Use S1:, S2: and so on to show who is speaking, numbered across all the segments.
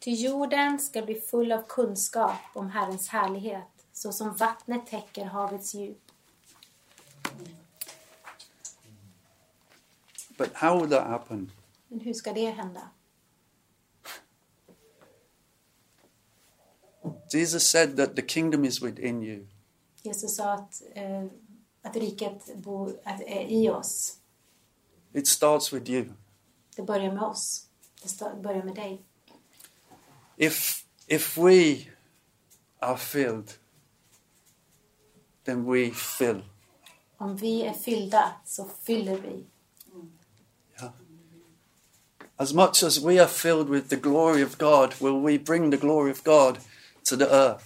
S1: Ty jorden ska bli full av kunskap om Herrens härlighet, så som vattnet täcker havets djup.
S2: But how will that happen?
S1: Men hur ska det hända?
S2: Jesus said that the kingdom is within you.
S1: Jesus sa att, eh, att riket bor att, är i oss.
S2: It starts with you.
S1: Det börjar med oss. Det sta- börjar med dig.
S2: If if we are filled, then we fill.
S1: Om vi är fyllda så fyller vi.
S2: As much as we are filled with the glory of God, will we bring the glory of God to the earth?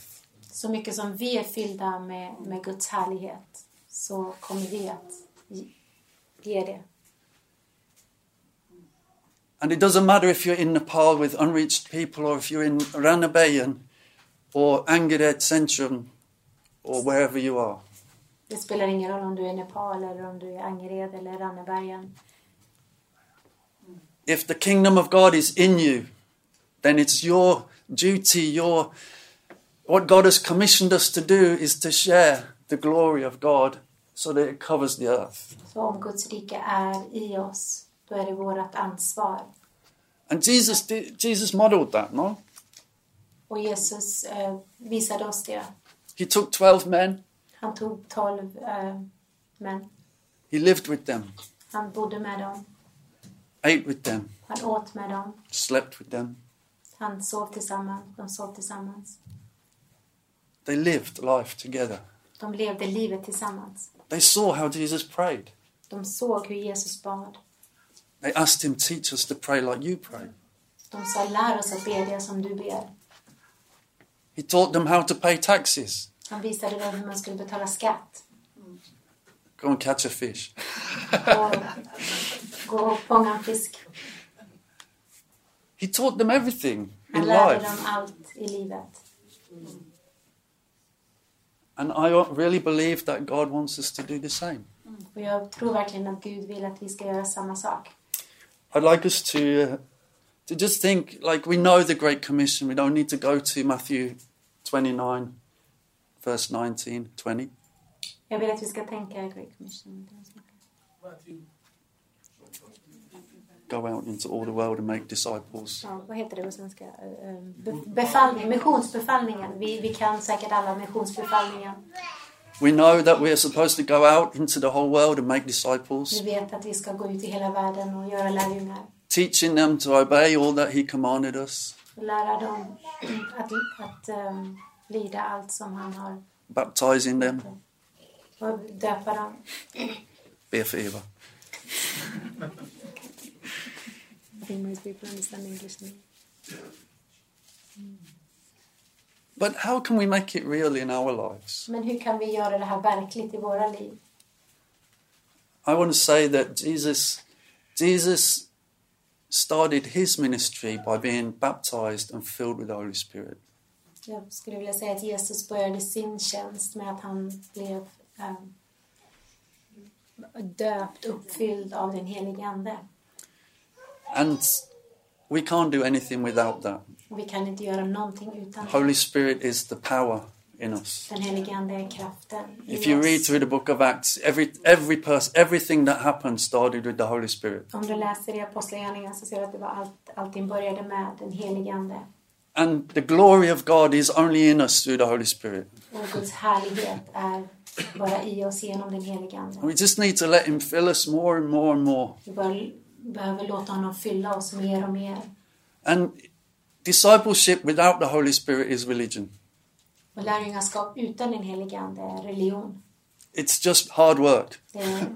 S1: Så mycket som vi är fyllda med, med Guds härlighet så kommer vi att ge- ge det.
S2: And it doesn't matter if you're in Nepal with unreached people or if you're in Ranabayan or Angered Centrum or wherever you are.
S1: Det spelar ingen roll om du är i Nepal eller om du är i Angered eller Rannebergen.
S2: If the kingdom of God is in you, then it's your duty, your what God has commissioned us to do is to share the glory of God so that it covers the earth.
S1: Så om Guds rike är i oss, då är det vårt ansvar.
S2: And Jesus did, Jesus modeled that, no?
S1: Och Jesus eh, visade oss det.
S2: He took 12 men,
S1: Han tog tolv eh, män.
S2: he lived with them,
S1: Han bodde med dem.
S2: ate with them,
S1: Han åt med dem.
S2: slept with them.
S1: Han sov tillsammans. De sov tillsammans.
S2: They lived life together.
S1: De levde livet tillsammans.
S2: They saw how Jesus prayed.
S1: De såg hur Jesus bad.
S2: They asked him, Teach us to pray like you pray.
S1: De sa lär oss att bedja som du ber.
S2: He taught them how to pay taxes,
S1: Han visade dem hur man skulle betala skatt.
S2: go and catch a fish.
S1: Och gå och fånga en fisk.
S2: He taught them everything
S1: Han
S2: in
S1: lärde dem
S2: life.
S1: allt i livet.
S2: And I really believe that God wants us to do the same.
S1: Och jag tror verkligen att Gud vill att vi ska göra samma sak.
S2: I'd like us to, uh, to just think like we know the Great Commission. We don't need to go to Matthew 29, verse 19, 20.
S1: Jag vill att vi ska tänka Great Commission.
S2: Go out into all the world and make disciples.
S1: Ja, vad heter det på svenska? Eh, eh, be- Befallning, missionsbefallningen. Vi, vi kan säkert alla missionsbefallningen.
S2: We know that we are supposed to go out into the whole world and make
S1: Vi
S2: disciples,
S1: vet att vi ska gå ut i hela världen och göra lärjungar.
S2: teaching them to obey all that He commanded us,
S1: Och lära dem att, att um, lida allt som han har.
S2: baptizing them.
S1: Och döpa dem.
S2: Be for Eva. But how can we make it real in our lives?
S1: Men hur kan vi göra det här verkligt i våra liv?
S2: I want to say that Jesus, Jesus started his ministry by being baptized and filled with the Holy Spirit.
S1: Jag skulle vilja säga att Jesus började sin tjänst med att han blev um, döpt, uppfylld av den helige Ande.
S2: And we can't do anything without that.
S1: Och vi kan inte göra någonting utan det.
S2: Holy Spirit is the power in us.
S1: den helige Ande är kraften i
S2: If you
S1: oss.
S2: read through the book of Acts, every, every person, everything that happened started with the Holy Spirit.
S1: Om du läser i Apostlagärningarna så ser du att det var allt, allting började med den helige Ande.
S2: And the glory of God is only in us through the Holy Spirit.
S1: Och Guds härlighet är bara i oss genom den helige
S2: And
S1: Ande.
S2: we just need to let Him fill us more and more and more.
S1: Vi bara behöver låta honom fylla oss mer och mer.
S2: And discipleship without the Holy Spirit is religion.
S1: Och lärjungaskap utan den helige Ande är religion.
S2: It's just hard work.
S1: Det är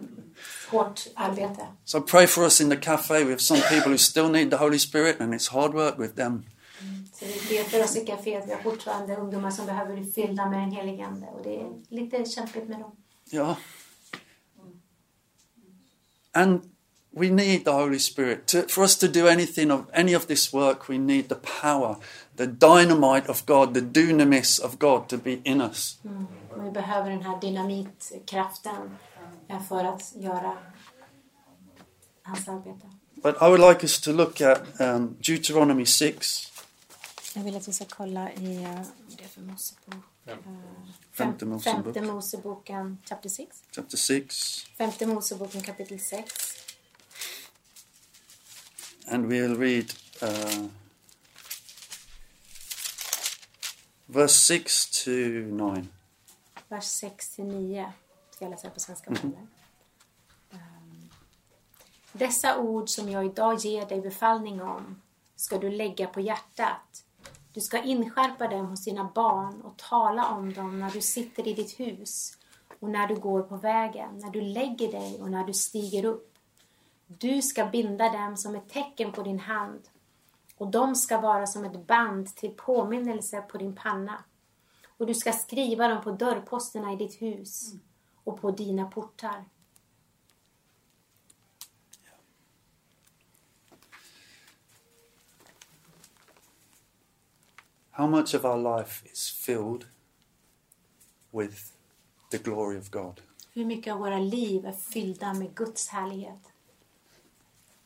S1: hårt arbete.
S2: So pray for us in the cafe. We have some people who still need the Holy Spirit, and it's hard work with them.
S1: Så vi ber för oss i kaféet. Vi har fortfarande ungdomar som behöver bli fyllda med den helige Ande. Och det är lite kämpigt med dem.
S2: Yeah. And we need the Holy Spirit to, for us to do anything of any of this work. We need the power, the dynamite of God, the dunamis of God to be in us.
S1: Men vi behöver den här dynamitkraften eh, för att göra hans arbete.
S2: But I would like us to look at um, Deuteronomy six.
S1: Jag vill att vi ska kolla i, eh, vad är det för Mosebok?
S3: Ja.
S1: Eh,
S2: Femte
S1: fem-
S2: Mosebok.
S1: Femte Moseboken, chapter 6.
S2: Chapter 6.
S1: Femte Moseboken kapitel 6.
S2: And we'll read uh, verse 6 to 9.
S1: vers 6 till 9. Ska jag läsa det på svenska? Mm. Dessa ord som jag idag ger dig befallning om ska du lägga på hjärtat. Du ska inskärpa dem hos dina barn och tala om dem när du sitter i ditt hus och när du går på vägen, när du lägger dig och när du stiger upp. Du ska binda dem som ett tecken på din hand och de ska vara som ett band till påminnelse på din panna och du ska skriva dem på dörrposterna i ditt hus och på dina portar.
S2: How much of our life is filled with the glory of God?
S1: Hur mycket av våra liv är fyllda med Guds härlighet?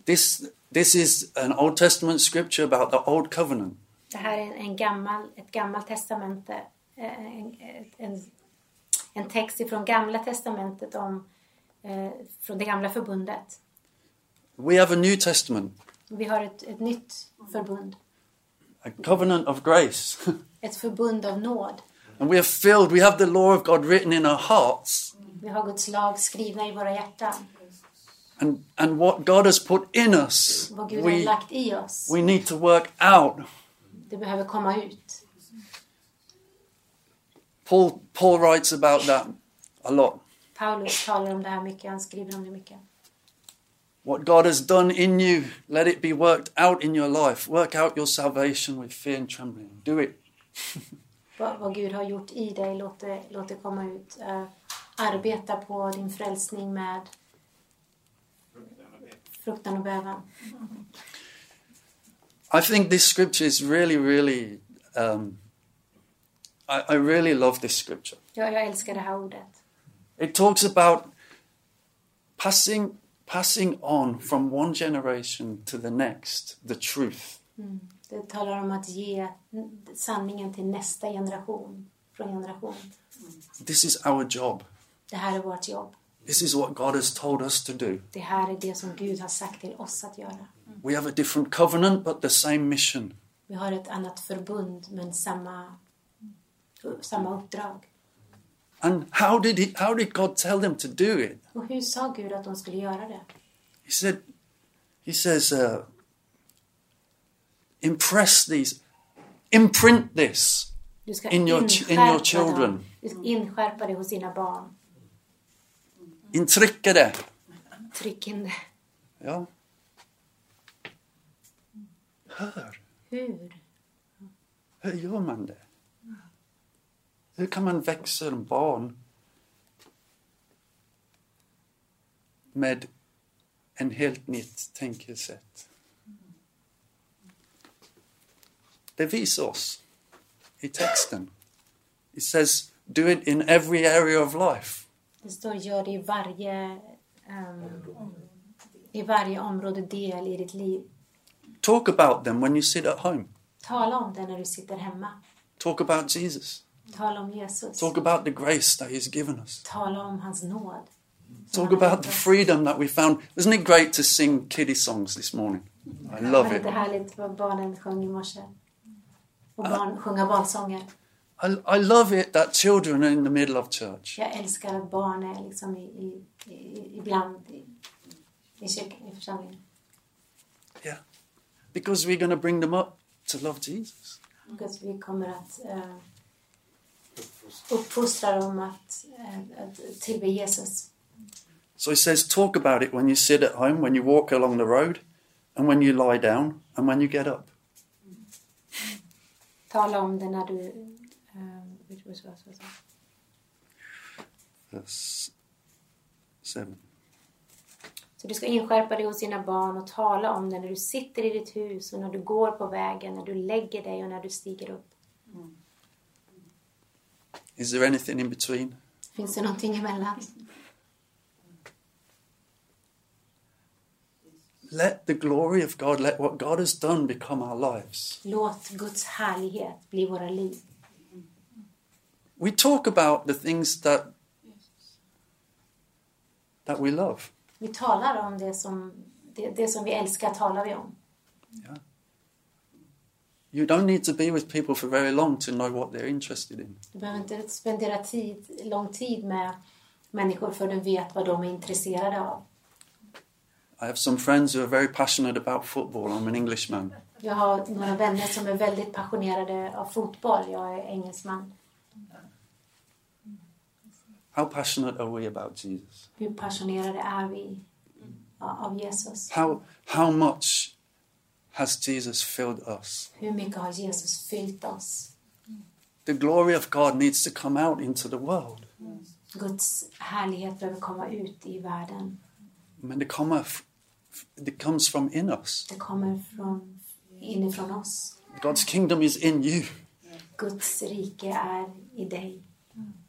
S2: This, this is an Old Testament scripture about the Old Covenant.
S1: Det här är en, en gammal, ett gammalt testamente, eh, en, en, en text ifrån gamla testamentet om, eh, från det gamla förbundet.
S2: We have a New Testament,
S1: Vi har ett, ett nytt förbund,
S2: a covenant of grace.
S1: ett förbund av nåd.
S2: and we are filled, we have the law of God written in our hearts.
S1: Vi har Guds lag skrivna i våra hjärtan.
S2: And, and what God has put in us,
S1: Vad Gud har
S2: we,
S1: lagt i oss,
S2: we need to work out.
S1: det behöver komma ut.
S2: Paul, Paul writes about that a lot.
S1: Paulus talar om det här mycket, han skriver om det mycket.
S2: What God has done in you, let it be worked out in your life. Work out your salvation with fear and trembling. Do it.
S1: vad, vad Gud har gjort i dig, låt det, låt det komma ut. Eh, arbeta på din frälsning med fruktan och bävan.
S2: I think this scripture is really, really. Um, I, I really love this scripture.
S1: Jag, jag älskar det här ordet.
S2: It talks about passing, passing on from one generation to the next the truth.
S1: Det talar om att ge sanningen till nästa generation, från generation.
S2: This is our job.
S1: Det här är vårt jobb.
S2: This is what God has told us to do.
S1: Det här är det som Gud har sagt till oss att göra.
S2: We have a different covenant, but the same mission.
S1: Vi har ett annat förbund, men samma, samma uppdrag.
S2: And how did he, how did God tell them to do it?
S1: Och hur sa Gud att de skulle göra det?
S2: He said, he says, uh, impress these, imprint this.
S1: Du ska
S2: In your- in
S1: inskärpa
S2: your children.
S1: dem. Du ska inskärpa det hos dina barn.
S2: Intrycka det.
S1: Tryck in det.
S2: Ja. Hör,
S1: Hur?
S2: hur gör man det? Hur kan man växa en barn med en helt nytt tänkesätt? Det visar oss i texten. It says, do it in every area of life.
S1: Det står gör det i varje, ehm, i varje område, del i ditt liv.
S2: Talk about them when you sit at home.
S1: Tala om det när du sitter hemma.
S2: Talk about Jesus.
S1: Tala om Jesus.
S2: Talk about the grace that He's given us.
S1: Tala om hans nåd.
S2: Talk about the freedom that we found. Isn't it great to sing kiddie songs this morning? I love
S1: Var
S2: it.
S1: inte härligt vad barnen sjöng i morse? Och barn, sjunga barnsånger.
S2: I, I love it that children are in the middle of church.
S1: Jag älskar att barn är liksom i, i, i, ibland i, i kyrkan, i församlingen.
S2: Because we're going to bring them up to love Jesus.
S1: Gud, vi kommer att eh, uppfostra dem att, eh, att tillbe Jesus.
S2: So he says, talk about it when you sit at home, when you walk along the road, and when you lie down, and when you get up.
S1: Tala om det när du... ehm, vet du vad jag ska säga?
S2: Verse 7.
S1: Så du ska inskärpa dig hos dina barn och tala om det när du sitter i ditt hus och när du går på vägen, när du lägger dig och när du stiger upp.
S2: Is there anything in between?
S1: Finns det någonting emellan?
S2: let the glory of God, let what God has done become our lives.
S1: Låt Guds härlighet bli våra liv.
S2: We talk about the things that that we love.
S1: Vi talar om det som, det, det som vi älskar talar vi om.
S2: You don't need to be with people for very long to know what they're interested in.
S1: Du behöver inte spendera tid, lång tid med människor för du vet vad de är intresserade av.
S2: I have some friends who are very passionate about football. I'm an Englishman.
S1: Jag har några vänner som är väldigt passionerade av fotboll. Jag är engelsman.
S2: How passionate are we about Jesus?
S1: Hur passionerade är vi ja, av Jesus?
S2: How how much has Jesus filled us?
S1: Hur mycket har Jesus fyllt oss?
S2: The glory of God needs to come out into the world.
S1: Guds härlighet behöver komma ut i världen.
S2: Men det kommer f- f- it comes from in us.
S1: Det kommer från, inifrån oss.
S2: God's kingdom is in you.
S1: Guds rike är i dig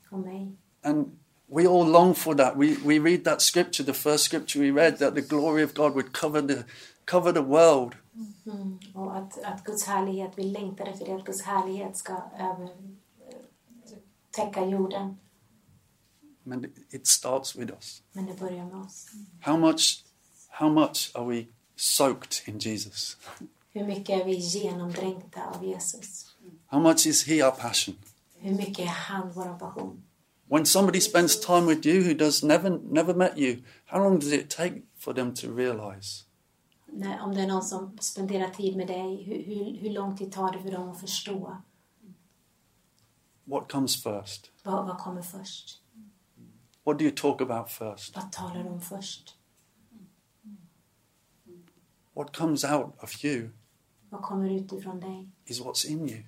S1: och mig.
S2: And we all long for that. We, we read that scripture, the first scripture we read, that the glory of God would cover the, cover the world.
S1: Mm. Och att, att Guds härlighet, vi längtar efter det, att Guds härlighet ska över, eh, täcka jorden.
S2: And it starts with us.
S1: Men det börjar med oss.
S2: How much, how much are we soaked in Jesus?
S1: Hur mycket är vi genomdränkta av Jesus?
S2: How much is He our passion?
S1: Hur mycket är han vår passion?
S2: When somebody spends time with you who does never, never met you, how long does it take for them to realize?
S1: När, om det är någon som spenderar tid med dig, hur, hur, hur lång tid tar det för dem att förstå?
S2: What comes first?
S1: Vad, vad kommer först?
S2: What do you talk about first?
S1: Vad talar de först?
S2: What comes out of you
S1: Vad kommer utifrån dig?
S2: is what's in you.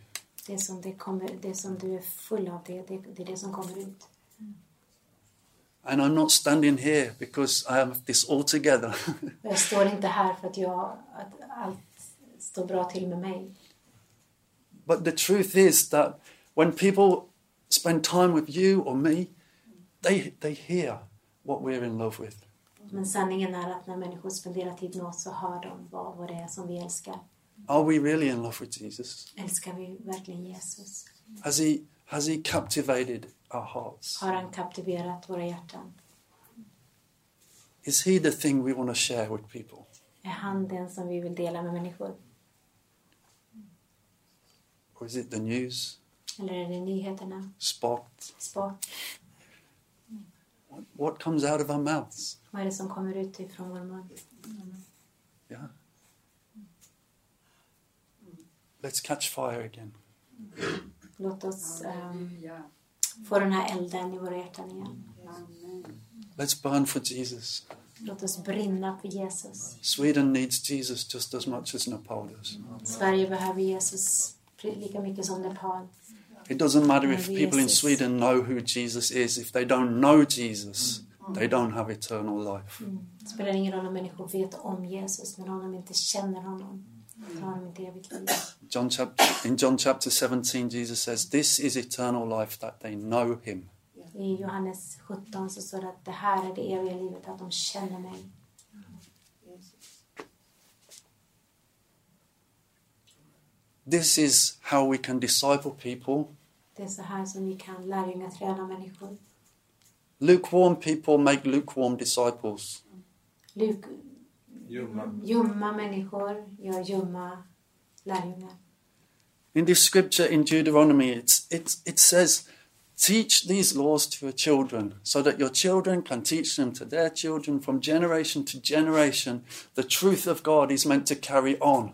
S1: Det som, det kommer, det som du är full av, det, det, det är det som kommer ut.
S2: And I'm not standing here because I have this all together.
S1: Och jag står inte här för att, jag, att allt står bra till med mig.
S2: But the truth is that when people spend time with you or me, they, they hear what we're in love with.
S1: Men sanningen är att när människor spenderar tid med oss så hör de vad, vad det är som vi älskar.
S2: Are we really in love with Jesus?
S1: Älskar vi verkligen Jesus?
S2: Has he, has he captivated our hearts?
S1: Har han kaptiverat våra hjärtan?
S2: Is he the thing we want to share with people?
S1: Är han den som vi vill dela med människor?
S2: Or is it the news,
S1: Eller är det nyheterna?
S2: spot?
S1: Sport?
S2: What, what comes out of our mouths?
S1: Vad är det som kommer ut ifrån vår mun?
S2: Yeah. Let's catch fire again.
S1: Låt oss ehm,
S3: Halleluja.
S1: få den här elden i våra hjärtan igen.
S3: Amen.
S2: Let's burn for Jesus.
S1: Låt oss brinna för Jesus.
S2: Sweden needs Jesus just as much as Nepal does.
S1: Sverige behöver Jesus lika mycket som Nepal.
S2: It doesn't matter if
S1: Maybe
S2: people in
S1: yes, yes.
S2: Sweden know who Jesus is. If they don't know Jesus, they don't have eternal life.
S1: Det spelar ingen roll om människor vet om Jesus, men om de inte känner honom så har de inte evigt liv.
S2: John chap- in John chapter 17, Jesus says, This is eternal life that they know him.
S1: I Johannes 17 så står det att det här är det eviga livet, att de känner mig.
S3: Jesus.
S2: This is how we can disciple people.
S1: Det är så här som vi kan lärjungaträna människor.
S2: Lukewarm people make lukewarm disciples.
S1: Luk,
S4: Ljumma.
S1: ljumma människor gör ljumma lärjungar.
S2: In this scripture in Deuteronomy, it's, it's, it says, Teach these laws to your children so that your children can teach them to their children from generation to generation. The truth of God is meant to carry on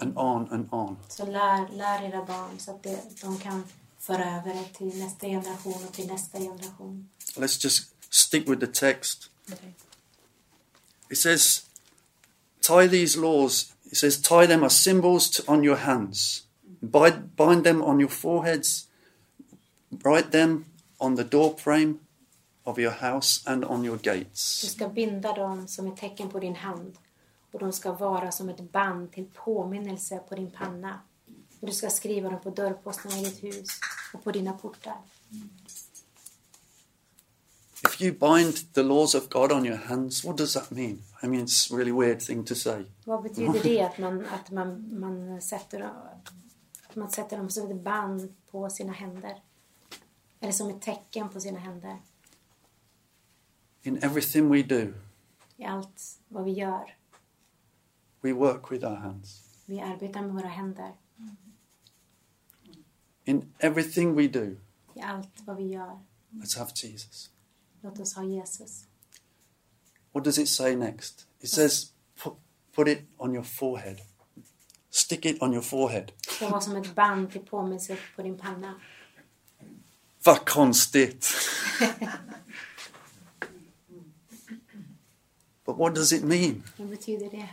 S2: and on and on.
S1: Så lär, lär era barn så att det, de kan föra över det till nästa generation och till nästa generation.
S2: Let's just stick with the text. It says, Tie these laws, it says, tie them as symbols to, on your hands, bind, bind them on your foreheads, write them on the door frame of your house and on your
S1: Du
S2: gates.
S1: ska binda dem som ett tecken på din hand och de ska vara som ett band till påminnelse på din panna. Och du ska skriva dem på dörrposterna i ditt hus och på dina portar.
S2: If if you bind the laws of God on your hands, what does that mean? I mean, it's a really weird thing to say.
S1: Vad betyder det att man, att man, man, sätter, att man sätter dem som ett band på sina händer? Eller som ett tecken på sina händer
S2: In everything we do,
S1: i allt vad vi gör.
S2: we work with our hands.
S1: Vi arbetar med våra händer
S2: In everything we do,
S1: i allt vad vi gör.
S2: let's have Jesus.
S1: Låt oss ha Jesus.
S2: What does it say next? It says, put, put it on your forehead. Stick it on your forehead.
S1: Det var som ett band till påminnelse på din panna.
S2: Vad konstigt! but what does it mean?
S1: Vad betyder det?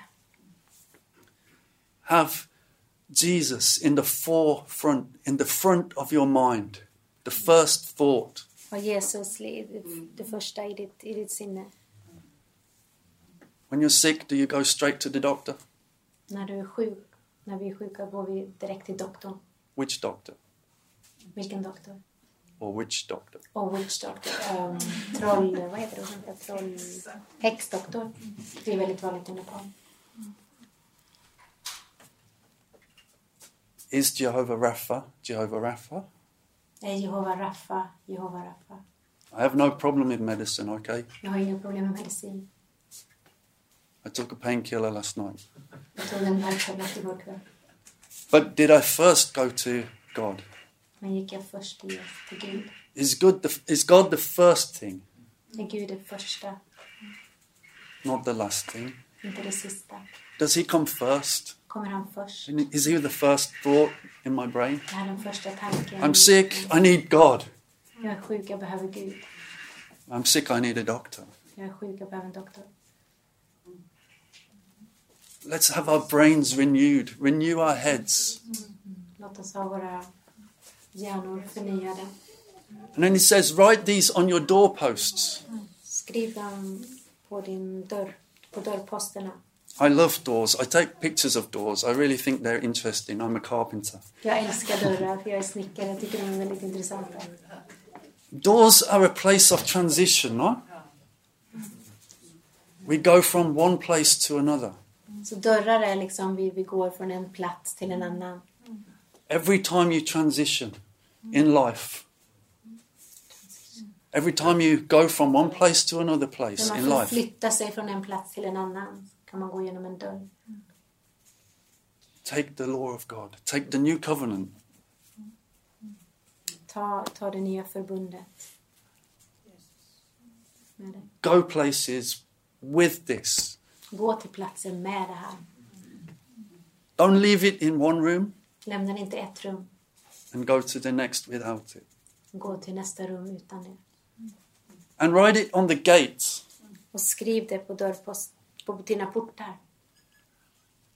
S2: Have Jesus in the forefront, in the front of your mind, the first thought.
S1: Ha Jesus i det första i ditt, i ditt sinne.
S2: When you're sick, do you go straight to the doctor?
S1: När du är sjuk, när vi är sjuka går vi direkt till doktorn.
S2: Which doctor?
S1: Vilken doktor?
S2: Or which doctor?
S1: Och Witch Doctor. Um, troll... Vad heter det? Sånt där Troll... Häxdoktor. Det är väldigt vanligt under barn.
S2: Is Jehovah Rapha Jehovah Rapha?
S1: Nej, Jehova Raffa. Jehova Raffa.
S2: I have no problem with medicine, okay?
S1: Jag har inga problem med medicin.
S2: I took a painkiller last night.
S1: Jag tog en värktablett igår kväll.
S2: But did I first go to God?
S1: Men gick jag först till, till Gud.
S2: Is, good the, is God the first thing,
S1: Är Gud det första,
S2: not the last thing?
S1: inte det sista?
S2: Does He come first?
S1: Kommer han först?
S2: And Is He the first thought in my brain?
S1: Det här är den första tanken.
S2: I'm sick, I need God.
S1: Jag är sjuk, jag behöver Gud.
S2: I'm sick, I need a doctor.
S1: Jag är sjuk, jag behöver en doktor.
S2: Let's have our brains renewed, renew our heads.
S1: Låt oss ha våra hjärnor förnyade.
S2: And then He says, write these on your doorposts.
S1: Skriv dem på din dörr, på dörrposterna.
S2: I love doors. I take pictures of doors. I really think they're interesting. I'm a carpenter.
S1: Jag älskar dörrar för jag är snickare. Jag tycker de är väldigt intressanta.
S2: Doors are a place of transition, no? We go from one place to another.
S1: Så dörrar är liksom vi, vi går från en plats till en annan.
S2: Every time you transition in life, every time you go from one place to another place
S1: När
S2: in
S1: man
S2: life,
S1: flyttar sig från en plats till en annan kan man gå genom en dörr.
S2: take the law of God, take the new covenant,
S1: Ta, ta det nya förbundet med det.
S2: go places with this.
S1: Gå till platsen med det här.
S2: Don't leave it in one room
S1: Lämna det inte i ett rum.
S2: and go to the next without it.
S1: Gå till nästa rum utan det.
S2: And write it on the gates.
S1: Och skriv det på dörrpost, på dina portar.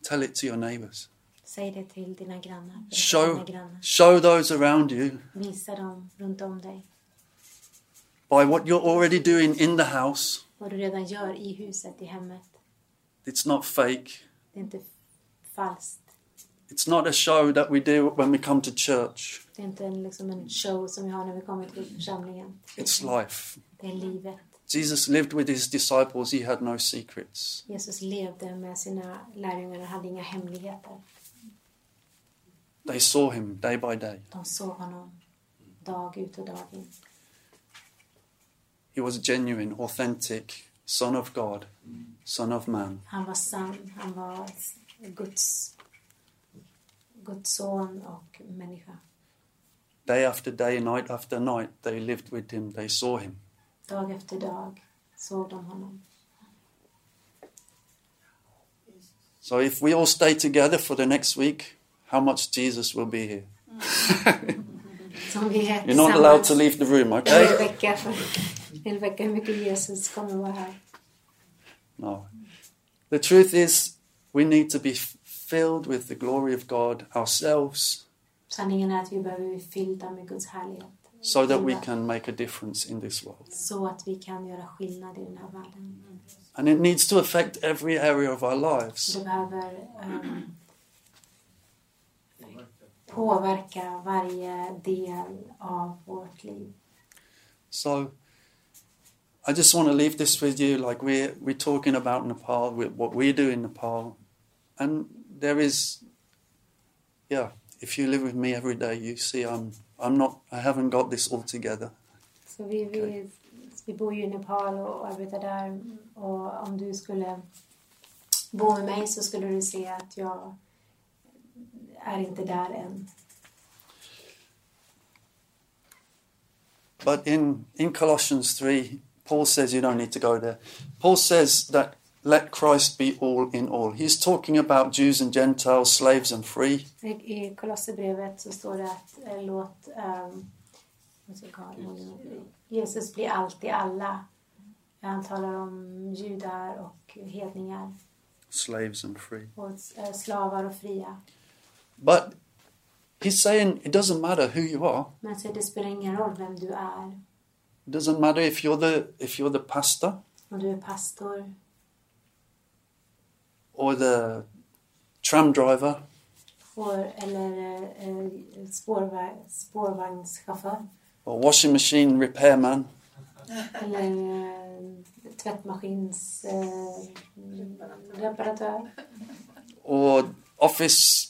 S2: Tell it to your neighbors.
S1: Säg det till dina grannar. Berätta för
S2: Show,
S1: dina grannar.
S2: show those around you
S1: Visa dem runt om dig
S2: by what you're already doing in the house.
S1: vad du redan gör i huset, i hemmet.
S2: It's not fake.
S1: Det är inte falskt.
S2: It's not a show that we do when we come to church.
S1: Det är inte en, liksom en show som vi har när vi kommer till församlingen.
S2: It's life.
S1: Det är livet.
S2: Jesus lived with his disciples, he had no secrets.
S1: Jesus levde med sina lärjungar och hade inga hemligheter.
S2: They saw him day by day.
S1: De såg honom dag ut och dag in.
S2: He was genuine, authentic, Son of God, Son of Man.
S1: Han var sann, han var Guds, Guds son och människa.
S2: Day after day, night after night, they lived with him, they saw him.
S1: Dag efter dag såg de honom.
S2: So if we all stay together for the next week, how much Jesus will be here?
S1: Som vi är
S2: You're not allowed
S1: tillsammans
S2: to leave the room,
S1: en hel
S2: okay?
S1: vecka. För, en hel vecka hur mycket Jesus kommer vara här.
S2: No. The truth is, we need to be f- filled with the glory of God ourselves
S1: Sanningen är att vi behöver bli fyllda med Guds härlighet.
S2: so that we can make a difference in this world.
S1: så att vi kan göra skillnad i den här världen.
S2: And it needs to affect every area of our
S1: Det
S2: lives.
S1: behöver ehm, påverka varje del av vårt liv.
S2: So I just want to leave this with you. Like we're we're talking about Nepal, we what we do in Nepal, and there is, yeah. If you live with me every day, you see I'm I'm not I haven't got this all together.
S1: Så vi, vi,
S2: Okej.
S1: vi bor ju i Nepal och arbetar där. Och om du skulle bo med mig så skulle du se att jag är inte där än.
S2: But in in Colossians three, Paul says you don't need to go there. Paul says that let Christ be all in all. He's talking about Jews and Gentiles, slaves and free.
S1: I- I Kolosserbrevet så står det att eh, låt ehm, vad ska jag kalla honom? Jesus blir allt i alla. Han talar om judar och hedningar
S2: Slaves and free.
S1: och eh, slavar och fria.
S2: But he's saying it doesn't matter who you are.
S1: Men så det spelar ingen roll vem du är.
S2: It doesn't matter if you're the if you're the pastor
S1: Om du är pastor
S2: or the tram driver
S1: spår, eller eh, eh, spårva- spårvagnschaufför
S2: or washing machine repairman.
S1: eller eh, tvättmaskins eh, mm, reparatör.
S2: or office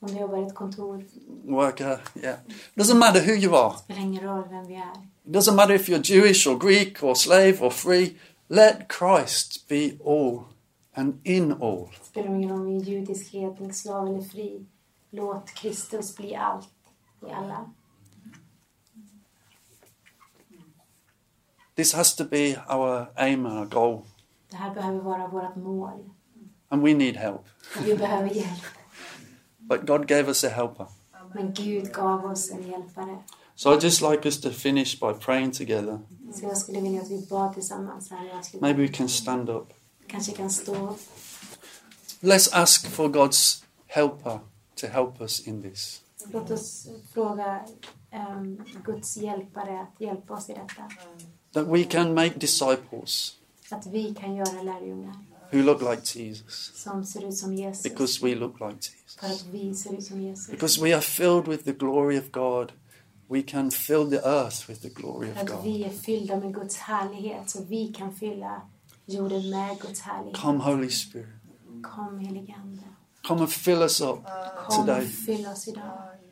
S1: Om du jobbar i ett kontor.
S2: worker. Yeah, doesn't matter who you are.
S1: Det spelar ingen roll vem vi är.
S2: It doesn't matter if you're Jewish or Greek or slave or free. Let Christ be all and in all.
S1: Det spelar ingen roll om vi är judisk, hedning, slav eller fri. Låt Kristus bli allt i alla.
S2: This has to be our aim and our goal,
S1: Det här behöver vara vårt mål.
S2: and we need help.
S1: Och vi behöver hjälp.
S2: But God gave us a helper.
S1: Men Gud gav oss en hjälpare.
S2: So I'd just like us to finish by praying together.
S1: Så jag skulle vilja att vi bad tillsammans här i avslutningen.
S2: Maybe we can stand up.
S1: Kanske kan stå upp.
S2: Let's ask for God's helper to help us in this.
S1: Låt oss fråga ehm, Guds hjälpare att hjälpa oss i detta.
S2: That we can make disciples
S1: Att vi kan göra lärjungar
S2: who look like Jesus
S1: som ser ut som Jesus.
S2: because we look like
S1: För
S2: Jesus.
S1: att vi ser ut som Jesus.
S2: Because we are filled with the glory of God, we can fill the earth with the glory
S1: För
S2: of
S1: att
S2: God.
S1: vi är fyllda med Guds härlighet. Så vi kan fylla jorden med Guds härlighet.
S2: Come, Holy Spirit.
S1: Kom helige Ande.
S2: Come and fill us up
S1: Kom
S2: today.
S1: och fyll oss idag.
S3: Yes.